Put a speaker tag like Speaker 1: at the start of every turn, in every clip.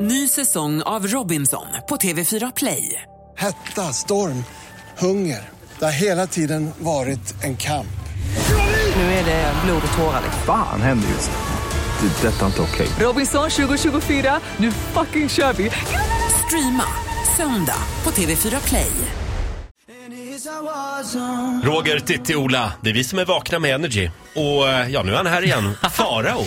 Speaker 1: Ny säsong av Robinson på TV4 Play.
Speaker 2: Hetta, storm, hunger. Det har hela tiden varit en kamp.
Speaker 1: Nu är det blod och tårar.
Speaker 3: Fan händer just nu. Det. är Detta är inte okej.
Speaker 1: Robinson 2024, nu fucking kör vi! Streama söndag på TV4 Play.
Speaker 4: Roger, Titti, Ola. Det är vi som är vakna med Energy. Och eh, ja, nu är han här igen. Farao.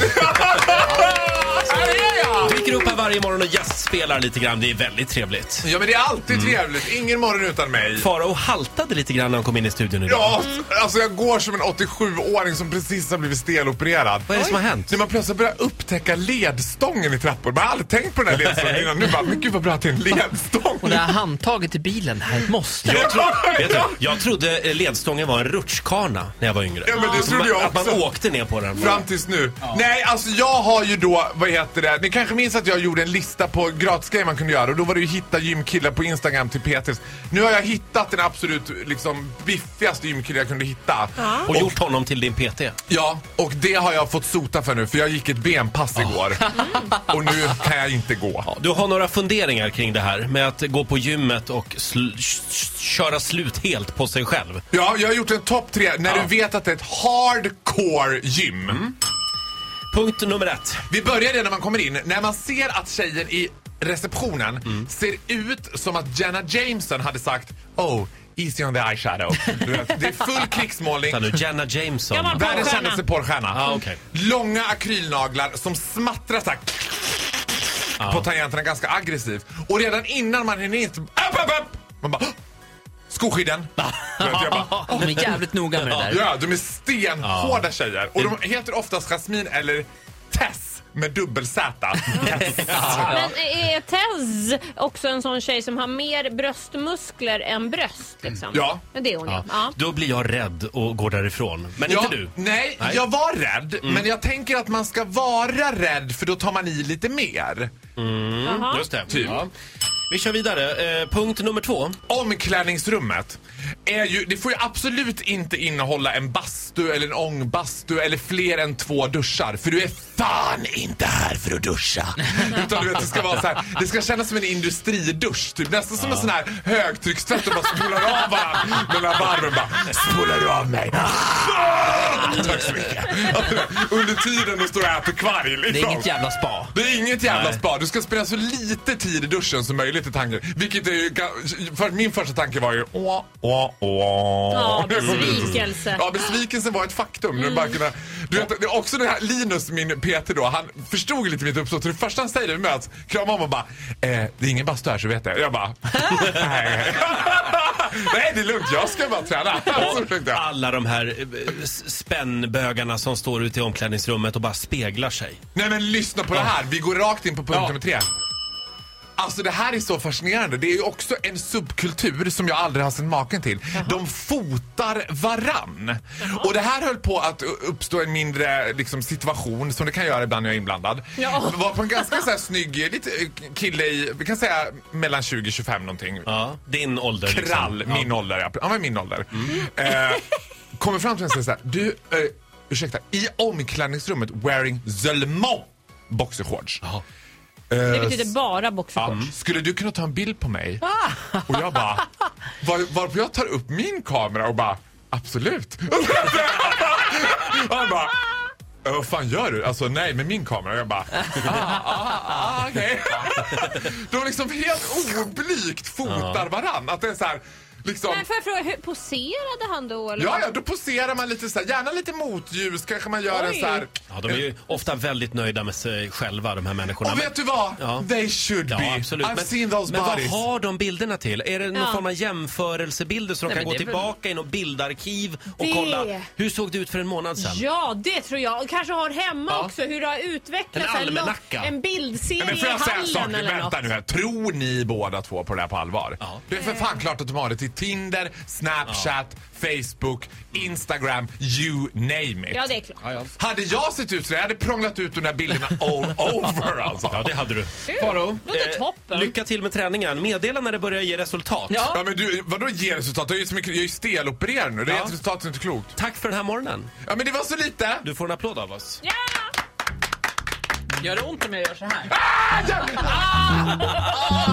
Speaker 4: Dyker upp här varje morgon och gästspelar lite grann. Det är väldigt trevligt.
Speaker 5: Ja men det är alltid
Speaker 4: Mm.
Speaker 5: trevligt, ingen morgon utan mig.
Speaker 4: Farao haltade lite grann när han kom in i studion idag.
Speaker 5: Ja, alltså jag går som en 87-åring som precis har blivit stelopererad.
Speaker 4: Vad är det som har hänt?
Speaker 5: När man plötsligt börjar upptäcka ledstången i trappor. Man har aldrig tänkt på den här ledstången innan. Nu bara, men gud vad bra att det är en ledstång.
Speaker 6: Och det här handtaget i bilen, det här är ett måste.
Speaker 4: Jag, tro, vet du, jag trodde eh, ledstången var en rutschkana när jag var yngre.
Speaker 5: Ja, men det
Speaker 4: Som
Speaker 5: trodde jag
Speaker 4: Att man
Speaker 5: också.
Speaker 4: åkte ner på den.
Speaker 5: Fram tills nu. Nej, alltså jag har ju då, vad heter det, ni kanske minns att jag gjorde en lista på gratisgrejer man kunde göra och då var det ju hitta gymkillar på Instagram till Peters. Nu har jag hittat den absolut liksom biffigaste gymkillen jag kunde hitta.
Speaker 4: Och gjort honom till din PT.
Speaker 5: Ja, och det har jag fått sota för nu för jag gick ett benpass igår. Och nu kan jag inte gå.
Speaker 4: Du har några funderingar kring det här med att gå på gymmet och sl- sh- köra slut helt på sig själv.
Speaker 5: Ja, jag har gjort en topp tre när du vet att det är ett hardcore gym.
Speaker 4: Punkt nummer ett.
Speaker 5: Vi börjar det när man kommer in. När man ser att tjejen i receptionen ser ut som att Jenna Jameson hade sagt Oh, easy on the eyeshadow. Du vet, det är full krigsmålning.
Speaker 4: Vänta nu, Jenna Jameson.
Speaker 7: Gammal
Speaker 5: Världens
Speaker 7: Porrstjärna.
Speaker 5: kändaste porrstjärna.
Speaker 4: Ah, okej.
Speaker 5: Långa akrylnaglar som smattrar så här
Speaker 4: Ah.
Speaker 5: på tangenterna ganska aggressivt. Och redan innan man hinner in så- upp, upp, upp, man bara "Hå! Skoskydden! Du vet, jag bara,
Speaker 6: De är jävligt noga med det där.
Speaker 5: ja, de är stenhårda tjejer. Och de heter oftast Jasmine eller Tess med dubbel Z.
Speaker 7: Men är Tez också en sån tjej som har mer bröstmuskler än bröst? Liksom?
Speaker 5: Ja.
Speaker 7: Men det är hon ja. ja.
Speaker 4: Då blir jag rädd och går därifrån. Men
Speaker 5: Ja,
Speaker 4: inte du.
Speaker 5: Nej,
Speaker 4: Nej. Mm.
Speaker 5: jag var rädd. Men jag tänker att man ska vara rädd för då tar man i lite mer.
Speaker 7: Jaha.
Speaker 4: Just det. Ja. Vi kör vidare. Eh, punkt nummer två.
Speaker 5: Omklädningsrummet är ju, det får ju absolut inte innehålla en bastu eller en ångbastu eller fler än två duschar. För du är fan inte här för att duscha. Utan du vet, det ska vara så här, det ska kännas som en industridusch. Typ. Nästan som en sån här högtryckstvätt och bara spolar av varandra mellan varven. Bara, spolar du av mig? Tack så mycket. Under tiden du står och äter kvarg.
Speaker 6: Det är
Speaker 5: liksom.
Speaker 6: inget jävla spa.
Speaker 5: Det är inget jävla spa. Du ska spela så lite tid i duschen som möjligt i tanken. Vilket är ju... ga- För min första tanke var ju... Åh, åh, åh.
Speaker 7: Ja, besvikelse.
Speaker 5: Ja, besvikelsen var ett faktum. Mm. Bara kunna, du vet, det är också det här Linus, min PT då, han förstod ju lite mitt uppsåt. Så Det första han säger när vi möts, kramar om och bara eh, “Det är ingen bastu här så vet jag”. Jag bara “Nej, Nej det är lugnt, jag ska bara träna”. Så tänkte jag.
Speaker 4: Alla de här eh, s- spännbögarna som står ute i omklädningsrummet och bara speglar sig.
Speaker 5: Nej men lyssna på det här. Vi går rakt in på punkt nummer tre. Alltså det här är så fascinerande. Det är ju också en subkultur som jag aldrig har sett maken till. De fotar varann. Och det här höll på att u- uppstå en mindre liksom, situation som det kan göra ibland när jag är inblandad.
Speaker 7: Ja.
Speaker 5: Det var på en ganska så här, snygg lite, eh, kille i, vi kan säga mellan 20-25 någonting.
Speaker 4: Ja, din ålder. liksom.
Speaker 5: Krall, min ålder. Ja. Han var i min ålder. Eh, kommer fram till en och säger du, eh, ursäkta, i omklädningsrummet wearing Zölmo boxershorts.
Speaker 7: Det betyder bara
Speaker 5: Ja,
Speaker 7: boxershorts.
Speaker 5: Skulle du kunna ta en bild på mig? Och jag bara, var, varpå jag tar upp min kamera och bara, absolut. Och han bara, "Eh, vad fan gör du? Alltså nej, med min kamera. Och jag bara, ah, ah, ah, okej. De liksom helt oblygt fotar varann. Att det är så här, liksom...
Speaker 7: Men får jag fråga, hur poserade han då? Eller?
Speaker 5: Ja, ja, då poserar man lite så här, gärna lite motljus, kanske man gör en
Speaker 7: Oj.
Speaker 5: så här...
Speaker 4: Ja, de är ju ofta väldigt nöjda med sig själva, de här människorna.
Speaker 5: Och
Speaker 4: Men-
Speaker 5: vet du vad?
Speaker 4: Ja.
Speaker 5: They should
Speaker 4: Ja,
Speaker 5: be.
Speaker 4: absolut.
Speaker 5: I've
Speaker 4: men,
Speaker 5: seen those
Speaker 4: men vad
Speaker 5: bodies.
Speaker 4: har de bilderna till? Är det någon
Speaker 7: Ja.
Speaker 4: form av jämförelsebilder så de
Speaker 6: Nej,
Speaker 4: kan
Speaker 6: men
Speaker 4: gå
Speaker 6: det är väl-
Speaker 4: tillbaka i något bildarkiv och
Speaker 7: Det-
Speaker 4: kolla hur såg det ut för en månad sedan?
Speaker 7: Ja, det tror jag. Och kanske har hemma också hur det har utvecklats.
Speaker 4: En
Speaker 7: här långt-
Speaker 4: almanacka.
Speaker 7: En bildserie
Speaker 5: Men får jag
Speaker 7: i
Speaker 5: säga en
Speaker 7: hallen
Speaker 5: sak?
Speaker 7: eller
Speaker 5: Vänta
Speaker 7: något.
Speaker 5: nu här. Tror ni båda två på det här på allvar?
Speaker 4: Ja.
Speaker 5: Det är för fan klart att de har det till Tinder, Snapchat, Facebook, Instagram, you name it.
Speaker 7: Ja, det är klart.
Speaker 5: Hade jag sett ut så jag hade prånglat ut de där bilderna all over alltså.
Speaker 4: Ja, det hade du.
Speaker 6: Faro?
Speaker 7: Låter toppen.
Speaker 4: Eh, Lycka till med träningen. Meddela när det börjar ge resultat.
Speaker 6: Ja.
Speaker 5: Ja men du, vadå ge resultat? Jag är ju så mycket- jag är ju stelopererad nu. Det är ett resultat som inte är klokt.
Speaker 4: Tack för den här morgonen.
Speaker 5: Ja men det var så lite!
Speaker 4: Du får en applåd av oss.
Speaker 7: Ja!
Speaker 6: Gör det ont om jag gör så här?
Speaker 5: Ah, jävlar! Ah!